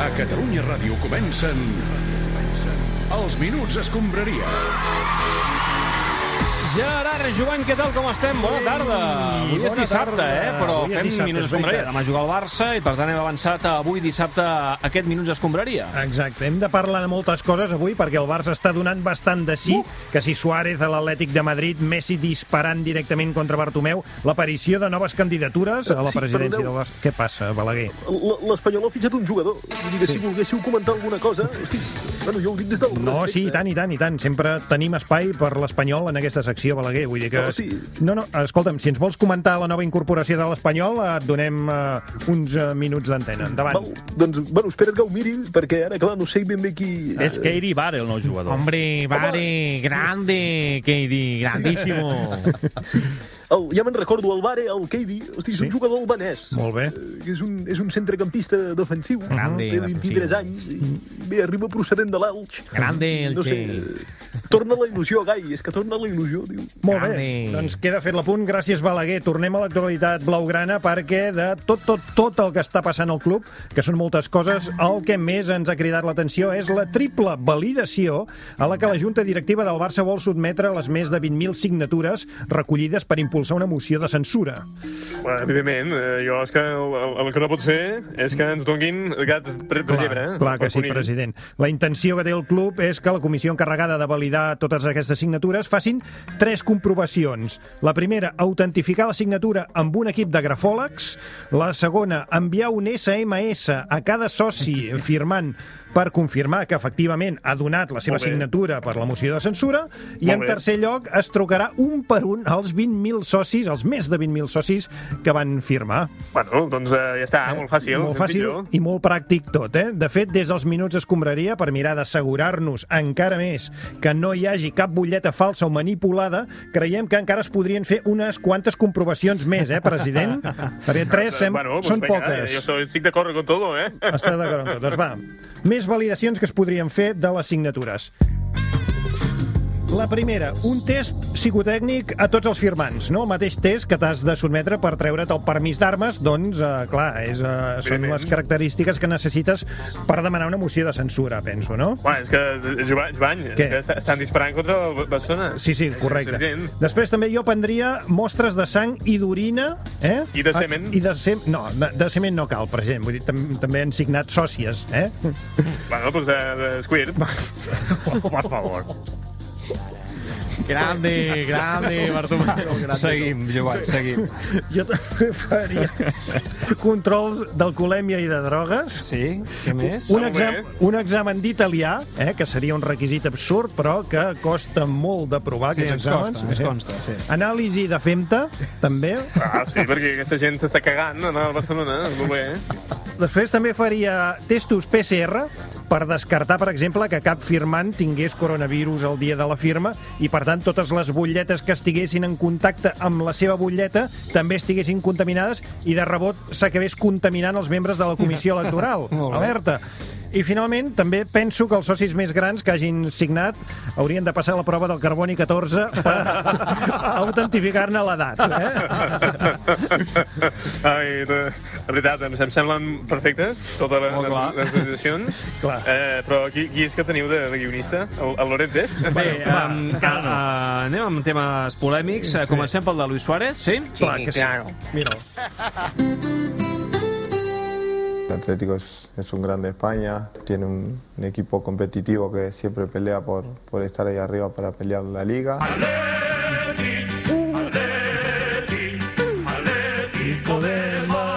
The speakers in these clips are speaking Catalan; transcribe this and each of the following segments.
A Catalunya Ràdio comencen... Els minuts es combraria. Gerard Joan, què tal, com estem? Bona tarda. Avui és bona dissabte, tarda. eh? Però Avui és fem dissabte, Minuts és veritat. Escombraria. Demà juga el Barça i, per tant, hem avançat a avui dissabte aquest Minuts Escombraria. Exacte, hem de parlar de moltes coses avui perquè el Barça està donant bastant de sí, que si Suárez a l'Atlètic de Madrid, Messi disparant directament contra Bartomeu, l'aparició de noves candidatures a la Sí, presidència perdoneu. del Barça. Què passa, Balaguer? L- L'Espanyol ha fitxat un jugador. Vull dir que si volguéssiu comentar alguna cosa... Hosti, bueno, jo ho dic des del... No, sí, i tant, i tant, i tant. Sempre tenim espai per l'Espanyol en aquesta secció, Balaguer. Vull dir que... No, sí. no, no, escolta'm, si ens vols comentar la nova incorporació de l'Espanyol, eh, et donem eh, uns eh, minuts d'antena. Endavant. Val, doncs, bueno, espera't que ho miri, perquè ara, clar, no sé ben bé qui... Es Keiri Vare, el nou jugador. Hombre, Vare, grande, Katie, grandísimo. El, ja me'n recordo, el Bare, el Keidi, hosti, és Sí. un jugador albanès. Ah, Molt bé. Eh, que És un, és un centrecampista defensiu, Grande, té 23 defensiu. anys, i bé, arriba procedent de l'Elx. Grande, el no sé, Che. eh, torna la il·lusió, Gai, és que torna la il·lusió, diu. Molt bé, Grande. doncs queda fet l'apunt. Gràcies, Balaguer. Tornem a l'actualitat blaugrana perquè de tot, tot, tot el que està passant al club, que són moltes coses, el que més ens ha cridat l'atenció és la triple validació a la que la Junta Directiva del Barça vol sotmetre les més de 20.000 signatures recollides per impulsar una moció de censura. Bueno, evidentment, eh, jo és que el, el, el que no pot ser és que ens donguin gat per, per llebre. eh? clar Per que sí, conill. president. La intenció que té el club és que la comissió encarregada de validar totes aquestes signatures facin tres comprovacions. La primera, autentificar la signatura amb un equip de grafòlegs. La segona, enviar un SMS a cada soci firmant per confirmar que efectivament ha donat la seva Molt bé. signatura per la moció de censura i Molt en bé. tercer lloc es trucarà un per un als 20.000 socis, als més de 20.000 socis que van firmar. Bueno, doncs eh, ja està, molt fàcil. Molt fàcil senzillo. i molt pràctic tot, eh? De fet, des dels minuts escombraria per mirar d'assegurar-nos encara més que no hi hagi cap butlleta falsa o manipulada, creiem que encara es podrien fer unes quantes comprovacions més, eh, president? Perquè tres sem... Eh, Bueno, doncs pues són venga, poques. Jo soy, estic d'acord con todo, eh? Està d'acord amb tot. Doncs va, més validacions que es podrien fer de les signatures. La primera, un test psicotècnic a tots els firmants, no? El mateix test que t'has de sotmetre per treure't el permís d'armes, doncs, eh, clar, és, eh, són Evidentment. les característiques que necessites per demanar una moció de censura, penso, no? Bueno, és que, eh, Joan, Joan és Què? que est- estan disparant contra el Barcelona. Sí, sí, correcte. És evident. Després també jo prendria mostres de sang i d'orina, eh? I de semen. I de sem... No, de, de semen no cal, president. Vull dir, tam també han signat sòcies, eh? Bueno, doncs de, de Squirt. Per favor. Grande, grande, Bartomeu. Seguim, Joan, seguim. Jo també faria controls d'alcoholèmia i de drogues. Sí? Què més? Un, Molt exam, bé. un examen d'italià, eh, que seria un requisit absurd, però que costa molt de provar Sí, aquests ens exàmens. consta, ens consta, sí. Anàlisi de femta, també. Ah, sí, perquè aquesta gent s'està cagant anar al Barcelona, molt bé. eh? Després també faria testos PCR per descartar, per exemple, que cap firmant tingués coronavirus el dia de la firma i, per tant, totes les butlletes que estiguessin en contacte amb la seva butlleta també estiguessin contaminades i, de rebot, s'acabés contaminant els membres de la comissió electoral. Molt bé. Alerta! I, finalment, també penso que els socis més grans que hagin signat haurien de passar la prova del carboni 14 per autentificar-ne l'edat. Eh? Ai, de, de veritat, em, em semblen perfectes totes les, Molt les, clar. les decisions. Clar. Eh, però qui, qui és que teniu de, de guionista? El, el Lorente? Bé, um, uh, anem amb temes polèmics. Eh, Comencem pel de Luis Suárez, sí? Clar que sí. Mira'l. El Atlético es, es un gran de España, tiene un, un equipo competitivo que siempre pelea por, por estar ahí arriba para pelear la liga.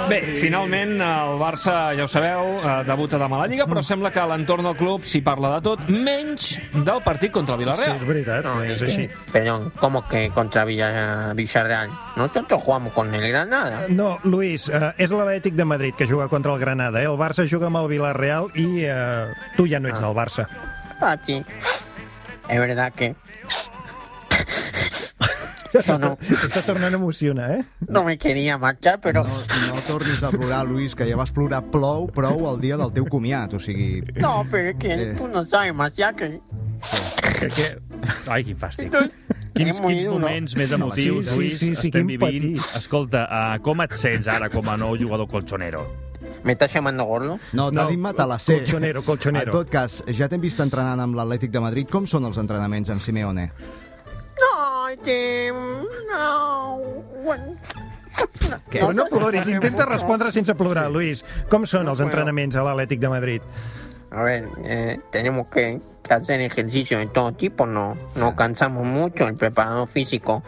Bé, finalment el Barça, ja ho sabeu, eh, debuta demà a la Lliga, però sembla que a l'entorn del club s'hi parla de tot, menys del partit contra el Sí, és Villarreal. veritat, és així. Perdón, ¿cómo que contra Villa- Villarreal? Nosotros jugamos con el Granada. No, Luis, eh, és l'Atlètic de Madrid que juga contra el Granada. Eh? El Barça juga amb el Villarreal i eh, tu ja no ets del Barça. Ah, sí. Es verdad que Això no. Està tornant a emocionar, eh? no me quería marchar, pero No, no tornis a plorar, Luis, que ja vas plorar plou prou el dia del teu comiat, o sigui... no, pero es Eh. que tú no sabes más ya que Ai, quin fàstic. es Quins, muy quins duro. moments més emotius, Sí, sí, Lluís, sí, sí, estem quin vivint. eh, patir. Escolta, uh, com et sents ara com a nou jugador colchonero? ¿Me estás llamando gordo? No, t'ha dit Matalasser. colchonero, colchonero. En tot cas, ja t'hem vist entrenant amb l'Atlètic de Madrid. Com són els entrenaments amb Simeone? No, Tim, no. Bueno. Que no ploris, intenta respondre sense plorar, Luis. Com són els entrenaments a l'Atlètic de Madrid? A ver, eh, tenemos que, que hacer ejercicio de todo tipo, no nos cansamos mucho, el preparador físico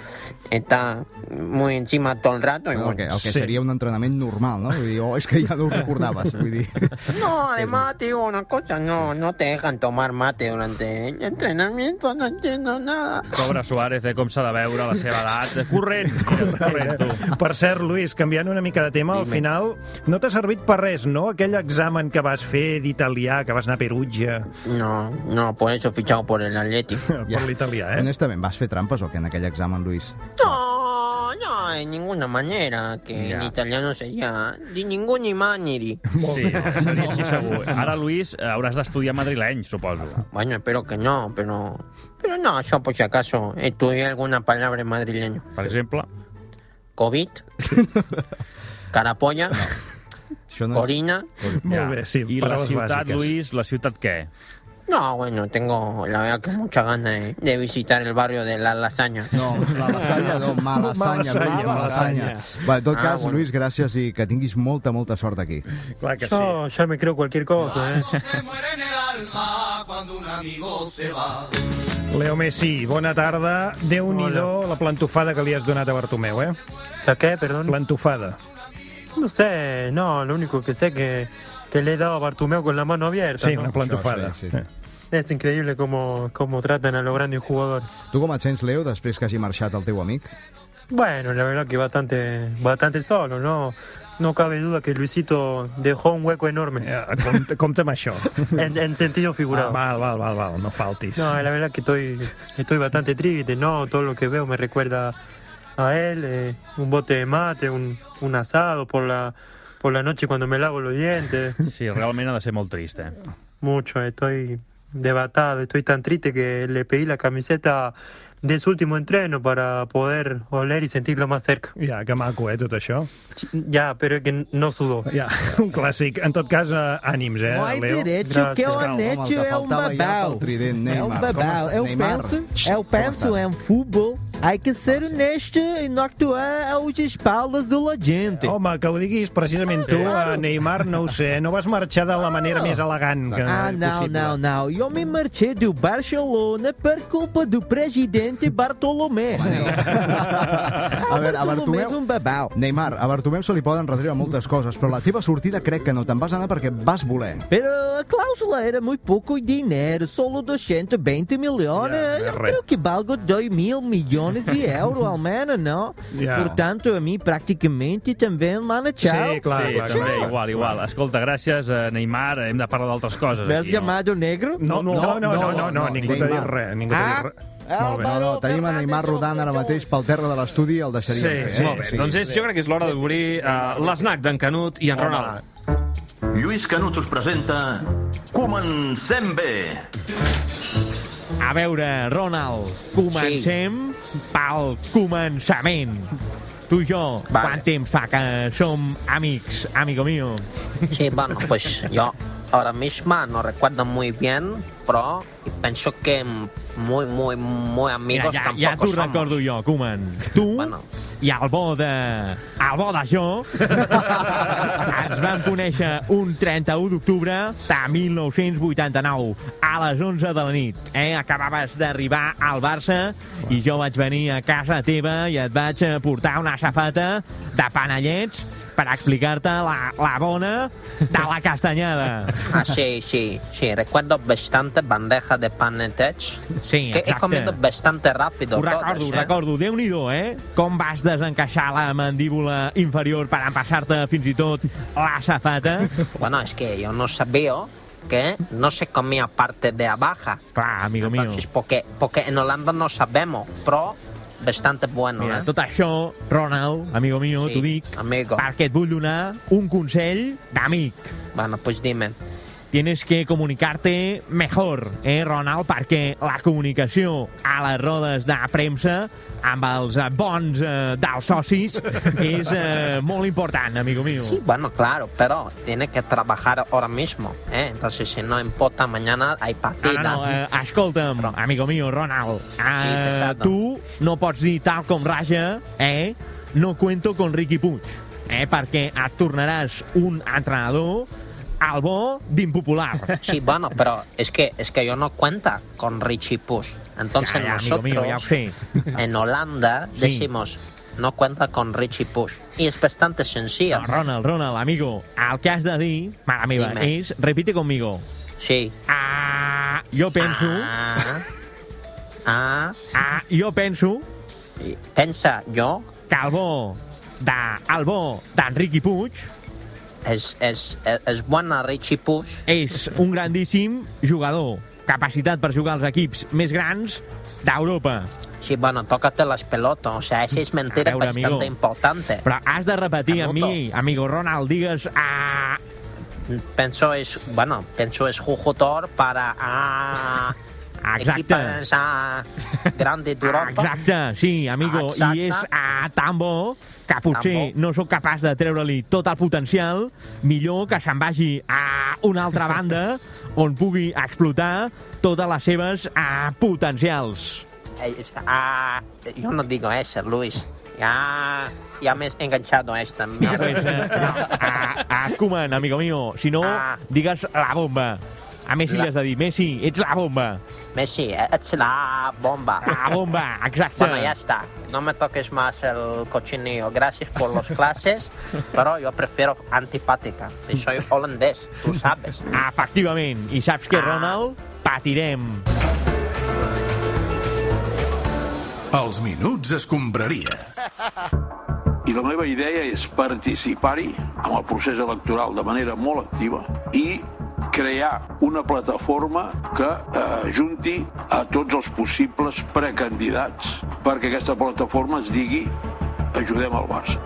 está muy encima todo el rato. Y Oh, El que, bueno. el que seria un entrenament normal, no? Vull dir, oh, és que ja no ho recordaves. Vull dir, No, además te digo una cosa, no, no te dejan tomar mate durante el entrenamiento, no entiendo nada. Pobre Suárez, eh, com s'ha de veure la seva edat. Corrent, corrent, tu. Per cert, Luis, canviant una mica de tema, al final no t'ha servit per res, no? Aquell examen que vas fer d'italià, que vas anar a Perugia, No, no, por eso he fichado por el Atlético. per l'italià, eh? honestament, vas fer trampes o què en aquell examen, Luis? No, no, de ninguna manera, que en italiano sería de ningún imániri. Sí, seria així segur. Ara, Luis, hauràs d'estudiar madrileny, suposo. Bueno, espero que no, pero... Pero no, yo por si acaso estudié alguna palabra en madrileño. Per exemple. COVID, carapolla, Això no és... corina... Molt bé, sí, I la paraules ciutat, bàsiques. Luis, la ciutat què? No, bueno, tengo la verdad que mucha ganas de, de visitar el barrio de la lasaña. No, la lasanya no, malasanya, Malassanya, Luis, malassanya. malasanya. Va, en tot Ah, cas, bueno. Luis, gràcies i que tinguis molta, molta sort aquí. Clar que sí. No, ya me creo cualquier cosa, eh? Ah, É Leo Messi, bona tarda. déu nhi la plantofada que li has donat a Bartomeu, eh? ¿La qué, perdón? Plantofada. No sé, no, lo único que sé es que, que le he dado a Bartumeo con la mano abierta. Sí, ¿no? una plantofada. Sí, sí, sí. Es increíble cómo, cómo tratan a los grandes jugadores. Tu com et sents, Leo, després que hagi marxat el teu amic? Bueno, la verdad que bastante, bastante solo, ¿no? No cabe duda que Luisito dejó un hueco enorme, Eh, compte, compte amb això. en, en sentido Ah, figurado. val, val, val, val, no faltis. No, la verdad que estoy, estoy bastante triste, ¿no? Todo lo que veo me recuerda a él, eh, un bote de mate, un, un asado por la, por la noche cuando me lavo los dientes. Sí, realment ha de ser molt trist, eh? Mucho, estoy debatado, estoy tan triste que le pedí la camiseta de su último entreno para poder oler y sentirlo más cerca. Ja, que maco, eh, tot això. Ch- Ya, pero es que no sudó. Ja, un clàssic. En tot cas, eh, ànims, eh, Leo? Gracias. Calma, el que faltava ja pel um trident, Neymar. Com assim? estàs, Eu Neymar? é um penso, Com eu penso estàs? em futebol. Há que ser honesto e não actuar aos espaldas do logente. Home, que ho diguis precisament tu, a Neymar, no ho sé. No vas marxar de la manera més elegant que Ah, não, possible. não, não. Eu me marchei do Barcelona por culpa do presidente Bartolomé. Ah, A veure, a Bartolomé é Bartomeu... um babau. Neymar, a Bartomeu se li poden retreure moltes coses, però la teva sortida crec que no te'n vas anar perquè vas voler. Pero a cláusula era muy poco dinero, solo 220 milhões. Ya, eu es re. creo que valgo 2 mil milhões de euros, ao menos, não? Ya. Portanto, a mim praticamente também, mano, tchau. Sí, clar, sí, clar, clar. també, igual, igual. Escolta, gràcies, eh, Neymar. Hem de parlar d'altres coses. Me has aquí, no? llamado negro? No, no, no, no, no, no, no, ningú t'ha dit Neymar. res, ningú t'ha Ah? dit res. Molt bé. No, no, tenim a Neymar rodant ara mateix pel terra de l'estudi i el Sí, deixaríem fer. eh? sí, molt bé. Sí, doncs és, jo crec que és l'hora d'obrir uh, l'esnac d'en Canut i en Ronald. Lluís Canuts us presenta Comencem bé! A veure, Ronald, comencem sí. pel començament. Tu i jo, vale. quant temps fa que som amics, amigo mío? Sí, bueno, pues yo ahora mismo no recuerdo muy bien, pero pienso que muy, muy, muy amigos ja, ja tampoco t'ho somos. recordo jo, Koeman. Tu Bueno. i el bo de... El bo de jo ens vam conèixer un 31 d'octubre de 1989, a les 11 de la nit. Eh? Acabaves d'arribar al Barça i jo vaig venir a casa teva i et vaig eh, portar una safata de panellets per explicar-te la, la bona de la castanyada. Ah, sí, sí, sí. Recuerdo bastante bandeja de panetech. Sí, que he exacte. comido bastante rápido. Ho todas, recordo, ho eh. recordo. déu nhi eh? Com vas desencaixar la mandíbula inferior per empassar-te fins i tot la safata. Bueno, es que yo no sabía que no se comía parte de abajo. Clar, Ah, amigo mío. Entonces, porque, porque en Holanda no sabemos, pero bastante bueno, Mira, eh. tot això, Ronald, amigo mío, Sí, t'ho dic, amigo. perquè et vull donar un consell d'amic. Bueno, pues dime. tienes que comunicarte mejor, eh, Ronald, perquè la comunicació a les rodes de premsa amb els eh, bons eh, dels socis és eh, molt important, amigo mío. Sí, bueno, claro, pero tiene que trabajar ahora mismo. ¿eh? Entonces, si no importa, mañana hay No, partida. no, no, eh, escolta'm, amigo mío, Ronald, eh, pesado. tu no pots dir tal com raja, eh? No cuento con Ricky Puig, eh? Perquè et tornaràs un entrenador al bo d'impopular. Sí, bueno, pero es que, es que yo no cuenta con Richie Push. Entonces Ya, ya, amigo nosotros mío, ya lo sé. en Holanda Sí. decimos no cuenta con Richie Push. Y es bastante sencillo. Ronald, Ronald, amigo, el que has de dir, mare meva, Dime. és repite conmigo. Sí. Ah, jo penso... Ah, ah, ah, jo penso... Pensa, jo... Que el bo de, el bo d'Enriqui Puig es, es, es, es buena Richie Push. és un grandíssim jugador. Capacitat per jugar als equips més grans d'Europa. Sí, bueno, tócate las pelotas. O sea, esa es mentira A veure, bastante amigo. importante. Però has de repetir amb Canuto. mi, amigo Ronald, digues... Ah, Penso es, bueno, penso es jugador para ah, Exacte. equipos ah, grandes de Europa. Exacte, sí, amigo. Exacte. I és a tan bo que potser no sóc capaç de treure-li tot el potencial, millor que se'n vagi a una altra banda on pugui explotar totes les seves a, potencials. Eh, Ah, yo no digo eso, Luis. Ya, ya me has enganchado a este. esta. mierda. eh. A, Koeman, amigo mío, si no, digues la bomba. A Messi Ah. La- li has de dir, Messi, ets la bomba. Messi, ets la bomba. La bomba, exacte. Bueno, ya está. No me toques más el cochinillo. Gracias por las clases, pero yo prefiero antipática. Y soy holandés, tú sabes. Efectivament. I saps Ah. que, Ronald, patirem. Els minuts es compraria. I la meva idea és participar-hi en el procés electoral de manera molt activa i crear una plataforma que eh, junti a tots els possibles precandidats perquè aquesta plataforma es digui Ajudem al Barça.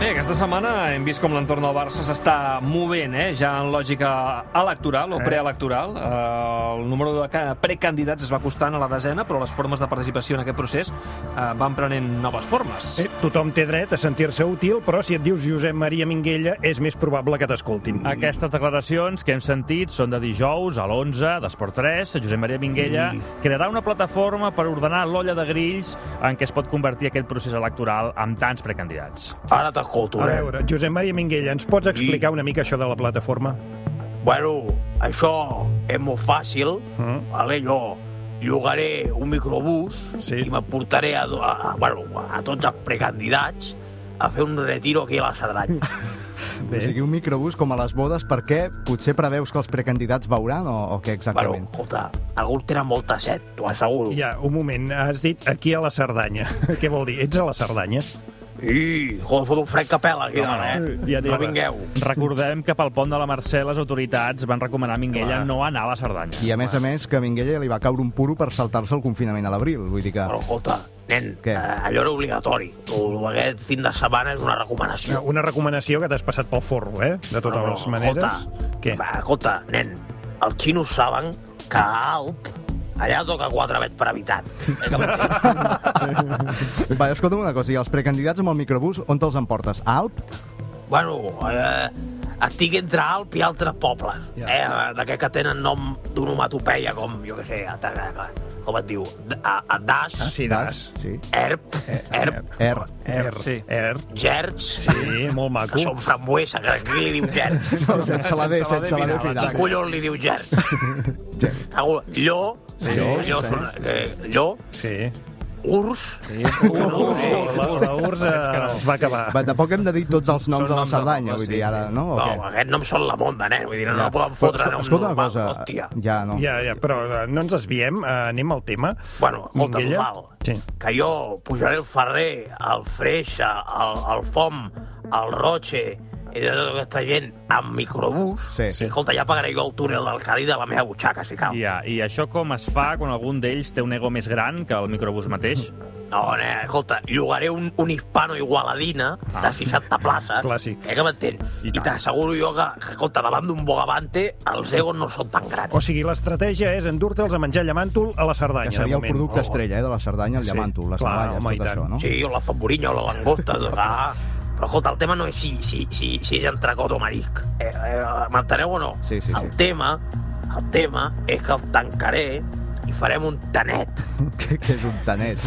Bé, aquesta setmana hem vist com l'entorn del Barça s'està movent, eh? ja en lògica electoral o preelectoral. Eh, el número de ca- precandidats es va acostant a la desena, però les formes de participació en aquest procés eh, van prenent noves formes. Eh, tothom té dret a sentir-se útil, però si et dius Josep Maria Minguella, és més probable que t'escoltin. Aquestes declaracions que hem sentit són de dijous a l'11 d'Esport 3. Josep Maria Minguella Mm. crearà una plataforma per ordenar l'olla de grills en què es pot convertir aquest procés electoral amb tants precandidats. Ara t'escolto, eh? A veure, Josep Maria Minguella, ens pots explicar una mica això de la plataforma? Bueno, això és molt fàcil. Mm. Vale, jo llogaré un microbús sí. i m'aportaré a, a, a, bueno, a tots els precandidats a fer un retiro aquí a la Cerdanya. Bé. O sigui, un microbús com a les bodes, per què? Potser preveus que els precandidats veuran o, o què exactament? Bueno, escolta, alguns tenen molta set, t'ho asseguro. Ja, un moment, has dit aquí a la Cerdanya. Què vol dir? Ets a la Cerdanya? I, joder, fot un fred que pela aquí No, dalt, eh? ja no vingueu. Recordem que pel pont de la Mercè les autoritats van recomanar a Minguella Clar. no anar a la Cerdanya. I a més a més, que a Minguella li va caure un puro per saltar-se el confinament a l'abril. Vull dir que... Però, escolta, nen, què? Eh, allò era obligatori. El, aquest fin de setmana és una recomanació. Una recomanació que t'has passat pel forro, eh? De totes les maneres. Què? Va, escolta, nen, els xinos saben que a Alp allà toca 4 vets per habitant. Eh, que Va, escolta'm una cosa, i els precandidats amb el microbús, on te'ls emportes? A Alp? bueno, eh, estic entre Alp i altres pobles, eh, d'aquests que tenen nom d'onomatopeia, com, jo què sé, a- a- a- com et diu, D- a, a Das, Ah, sí, das. Sí. Erp, Erp, Er. Er, sí. Er. Gerds, Sí, molt maco. que són frambuesa, que aquí li diu Gerds. No, sense la D, Sense la D, sense la D, mira, fins Qui ara. collons li diu Gerds? Cago, Llor, Sí, que eh, sí, Llor, sí. sona- que- Llor, Sí. Urs, Urs, la, la Urs eh, es va acabar. Va, tampoc hem de dir tots els noms Són de la noms de Cerdanya, pobles, vull sí, dir, ara, sí. no? O No, què? aquests noms són la monda, nen. Vull dir, no, no poden Però, fotre nom escolta una normal, cosa, hòstia. ja no. Ja, ja, però eh, no ens desviem, eh, anem al tema. Bueno, escolta, Minguella? total, Sí. que jo pujaré el Ferrer, el Freixa, el, el Fom, el Roche, i de tota aquesta gent amb microbús, sí, sí. escolta, ja pagaré jo el túnel del Cadí de la meva butxaca, si cal. I, a- I això com es fa quan algun d'ells té un ego més gran que el microbús mateix? No, ne, escolta, llogaré un, un hispano igualadina ah. de 60 places. Clàssic. Eh, que m'entens? I, t'asseguro jo que, que, escolta, davant d'un bogavante, els egos no són tan grans. O sigui, l'estratègia és endur-te'ls a menjar llamàntol a la Cerdanya. Que seria de el moment. producte estrella eh, de la Cerdanya, el Sí, llamàntol, les clar, navalles, home, i tot tant. això, no? Sí, o la famborinya o la langosta. doncs, ah. Però escolta, el tema no és si, si, si, si és entrecot o marisc. Eh, eh, M'enteneu o no? Sí, sí, El tema, el tema és que el tancaré i farem un tanet. que, que és un tanet.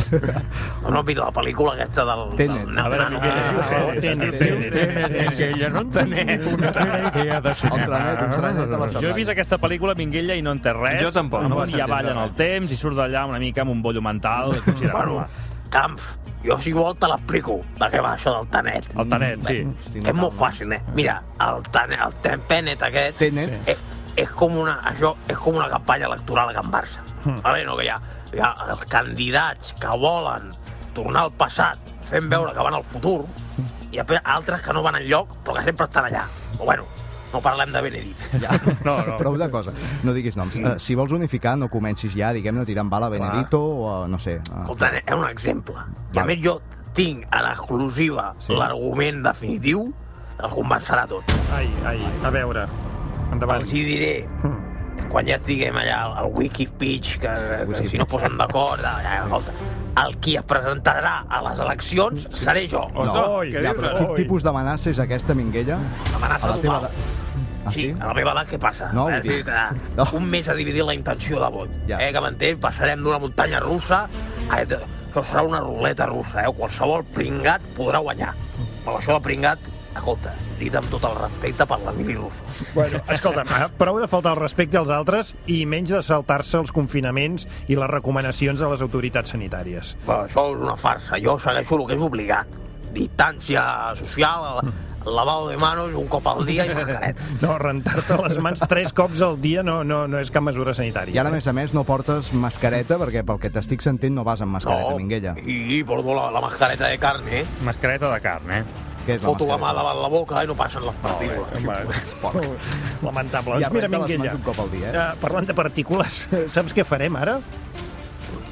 No, no, mira, la pel·lícula aquesta del... Tenet. Del, del, nano. Ah, Tenet. Tenet. Tanet. Una gran idea de cinema. El Tanet, un Tanet de la Jo he Cerdanya. vist aquesta pel·lícula, Minguella, i no entenc res. Jo tampoc, no vaig Amunt i avall entendre en el temps i surt d'allà una mica amb un bollo mental considerable. Camp, jo si vol te l'explico de què va això del tanet. El tanet, sí. Que és molt fàcil, eh? Mira, el, tan, el tempenet aquest Tenet. és, és, com una, això és com una campanya electoral a Can Barça. Hmm. Mm. Vale? No, que hi ha, hi ha els candidats que volen tornar al passat fent veure que van al futur i després altres que no van enlloc però que sempre estan allà. Però bueno, no parlem de Benedit. Ja. No, no. Prou de cosa. No diguis noms. Uh, si vols unificar, no comencis ja, diguem-ne, tirant bala a Benedito o a, no sé... A... Escolta, és un exemple. I a més jo tinc en exclusiva Sí. l'argument definitiu, el convencerà tot. Ai, ai, a veure. Endavant. Hmm. Els hi diré, quan ja estiguem allà al- al Wikipitch, que, que si no posen d'acord, ja, ja, escolta, el qui es presentarà a les eleccions seré jo. No, no ja, però quin tipus d'amenaça és aquesta, Minguella? Amenaça A la teva... total. Ah, sí? sí? a la meva edat què passa? No, eh, vull sí, dir- que- Un mes a dividir la intenció de vot. Ja. Eh, que m'entens? Passarem d'una muntanya russa a... Això serà una ruleta russa, eh? Qualsevol pringat podrà guanyar. Però això de pringat, escolta, dit amb tot el respecte per l'Emili Russo. Bueno, escolta'm, eh, prou de faltar el respecte als altres i menys de saltar-se els confinaments i les recomanacions de les autoritats sanitàries. Però això és una farsa. Jo segueixo el que és obligat. Distància social, Mm. lavado de manos un cop al dia i mascareta. No, rentar-te les mans tres cops al dia no, no, no és cap mesura sanitària. eh? I ara, a més a més, no portes mascareta, perquè pel que t'estic sentint no vas amb mascareta, No. Minguella. I porto la, la mascareta de carn, eh? Mascareta de carn, eh? Què és la Foto la mà mascareta? davant la boca i no passen les partícules. Lamentable. I Doncs mira, arrenca les Minguella, mans un cop al dia, eh? eh, parlant de partícules, saps què farem ara?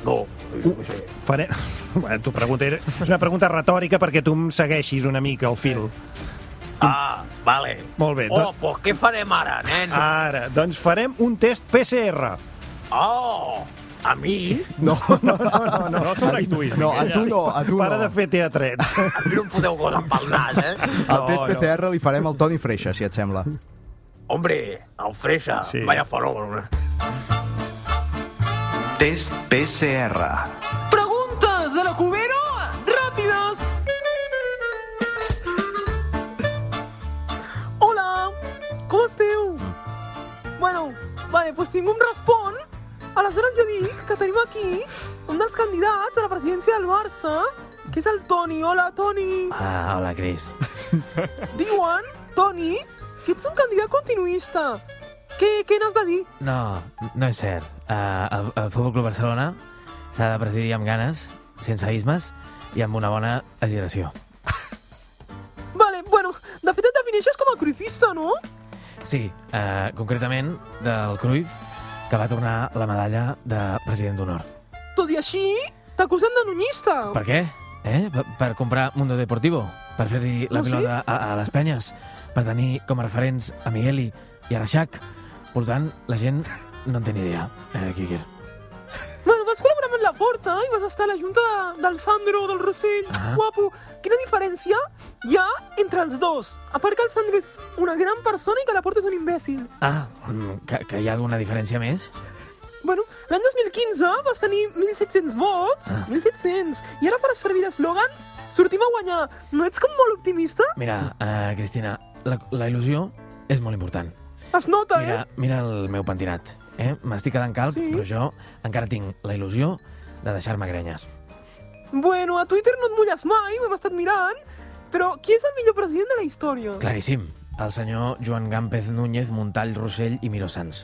No. Farem... Bueno, t'ho pregunto, era- és una pregunta retòrica perquè tu em segueixis una mica el fil. Ah, vale. Molt bé. Oh, Doncs, pues què farem ara, nen? ara, doncs farem un test PCR. Oh, a mi? No, no, no, no. No, no sobreactuïs, No, a tu no, a tu Para no. de fer teatret. A mi no em foteu coses pel nas, eh? El test PCR li farem al Toni Freixa, si et sembla. Hombre, el Freixa, sí. vaya fenómeno. eh? Test PCR. Preguntes de la Cubero ràpides. Hola, com esteu? Bueno, vale, pues si ningú em respon, aleshores jo dic que tenim aquí un dels candidats a la presidència del Barça, que és el Toni. Hola, Toni. Ah, hola, Cris. Diuen, Toni, que ets un candidat continuista. Què, què n'has de dir? No, no és cert. Uh, el, el Futbol Club Barcelona s'ha de presidir amb ganes, sense ismes i amb una bona agitació. Vale, bueno, de fet et defineixes com a crucista, no? Sí, uh, concretament del Cruyff, que va tornar la medalla de president d'honor. Tot i així, t'acusen de nunista. Per què? Eh? Per, per comprar Mundo Deportivo? Per fer-li la No no, sé. pilota a, a les penyes? Per tenir com a referents a Migueli i a Reixac? Per tant, la gent no en té ni idea, eh, Quiquer. Bueno, vas col·laborar amb la Porta i vas estar a la junta de, del Sandro, del Rossell. Ah. Guapo. Quina diferència hi ha entre els dos? A part que el Sandro és una gran persona i que la Porta és un imbècil. Ah, mm, que, que hi ha alguna diferència més? Bueno, l'any 2015 vas tenir 1.700 vots, Ah. 1.700, i ara faràs servir l'eslògan Sortim a guanyar. No ets com molt optimista? Mira, eh, Cristina, la, la il·lusió és molt important. Es nota, eh? Mira, mira el meu pentinat. Eh? M'estic quedant calb, sí. però jo encara tinc la il·lusió de deixar-me grenyes. eh? Bueno, a Twitter no et mulles mai, ho hem estat mirant, però qui és el millor president de la història? Claríssim. El senyor Joan Gàmpez Núñez, Montall, Rossell i Miró Sans.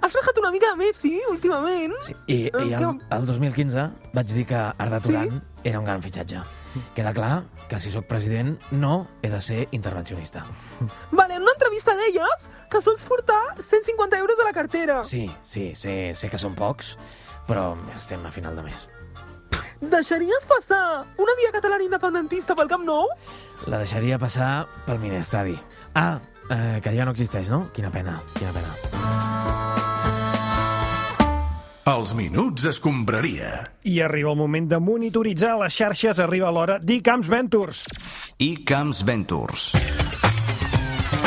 Has rajat una mica de Messi últimament. I, Eh, i el, que- el 2015 vaig dir que Arda Turan era un gran fitxatge. Queda clar que si sóc president no he de ser intervencionista. Vale, en una entrevista deies que sols portar 150 euros a la cartera. Sí, sí, sé, sé que són pocs, però estem a final de mes. Deixaries passar una via catalana independentista pel Camp Nou? La deixaria passar pel minestadi. Ah, eh, que ja no existeix, no? Quina pena, quina pena. Els minuts escombraria. I arriba el moment de monitoritzar les xarxes, arriba l'hora d'Icamps Ventures. I Camps Ventures.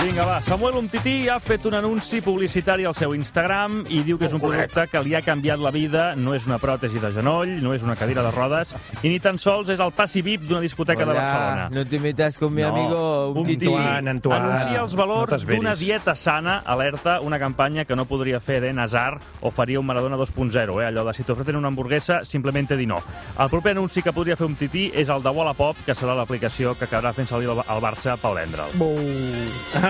Vinga, va, Samuel Umtiti ha fet un anunci publicitari al seu Instagram i diu que és un producte que li ha canviat la vida, no és una pròtesi de genoll, no és una cadira de rodes, i ni tan sols és el passi VIP d'una discoteca de Barcelona. No te metas con mi amigo un tití. Anuncia els valors d'una dieta sana, alerta, una campanya que no podria fer Eden Hazard o faria un Maradona 2.0, eh? allò de si t'ofrecen una hamburguesa, simplement di no. El proper anunci que podria fer un tití és el de Wallapop, que serà l'aplicació que acabarà fent servir el el Barça per vendre'l.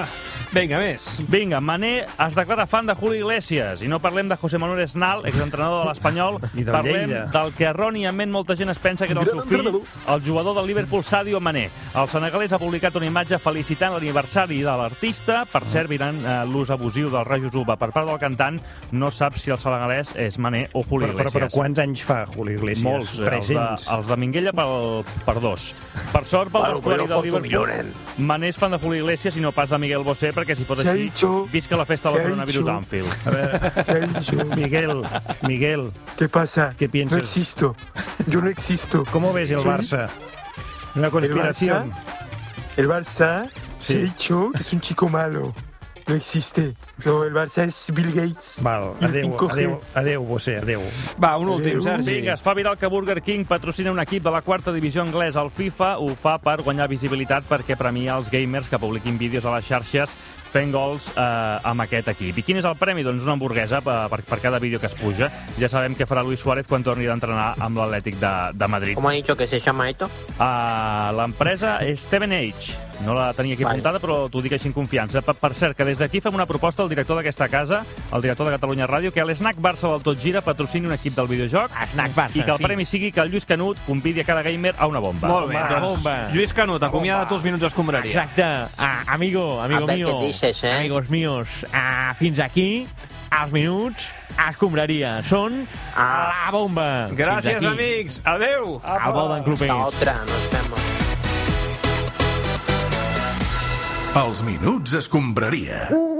Vinga, més. Vinga, Mané es declara fan de Julio Iglesias i no parlem de José Manuel Esnal, exentrenador de l'Espanyol, I del parlem Lleida. del que erròniament molta gent es pensa que era el seu fill, el jugador del Liverpool Sadio Mané. El senegalès ha publicat una imatge felicitant l'aniversari de l'artista, per cert, mirant eh, l'ús abusiu del rajos uva per part del cantant, no sap si el senegalès és Mané o Però, Julio però, Iglesias. però quants anys fa Julio Iglesias? Molts, eh, els de, 300. els de Minguella pel, per dos. Per sort, pel Bueno, vestuari però del porto millor, Liverpool, Manés fan de Julio Iglesias i no pas de Miguel Bosé, perquè si fos Se ha així, dicho- visca la festa se del ha coronavirus dicho- a Anfield. A ver, Miguel, Miguel. ¿Qué pasa? ¿Qué piensas? No existo. Yo no existo. ¿Cómo ves el Soy- Barça? Una conspiración. El Barça, el Barça Sí. se ha dicho que es un chico malo. No existe. No, el Barça es Bill Gates. Val, Y- adeu, y coge- adeu, adeu, Bosé, adeu. Va, un últim, Sergi. Vinga, es fa viral que Burger King patrocina un equip de la quarta divisió anglesa al FIFA. Ho fa per guanyar visibilitat perquè premia els gamers que publiquin vídeos a les xarxes fent gols eh, amb aquest equip. I quin és el premi? Doncs una hamburguesa per, per, per cada vídeo que es puja. Ja sabem què farà Luis Suárez quan torni d'entrenar amb l'Atlètic de, de Madrid. ¿Cómo ha dicho que se llama esto? Uh, L'empresa és Steven Age. No la tenia aquí Vale. apuntada, però t'ho dic així en confiança. Per, per cert, que des d'aquí fem una proposta al director d'aquesta casa, al director de Catalunya Ràdio, que l'Snack Barça del Tot Gira patrocini un equip del videojoc Snack Barça, i que el sí. premi sigui que el Lluís Canut convidi a cada gamer a una bomba. Molt bé, doncs, Lluís Canut, acomiada tus minuts d'escombraria. Exacte. Ah, amigo, amigo A ver mío. què dices, eh? Amigos míos. Ah, fins aquí, els minuts, escombraria. Són ah. la bomba. Gràcies, amics. Adeu. Al Golden Club. Hasta otra, nos vemos. Els minuts escombraria.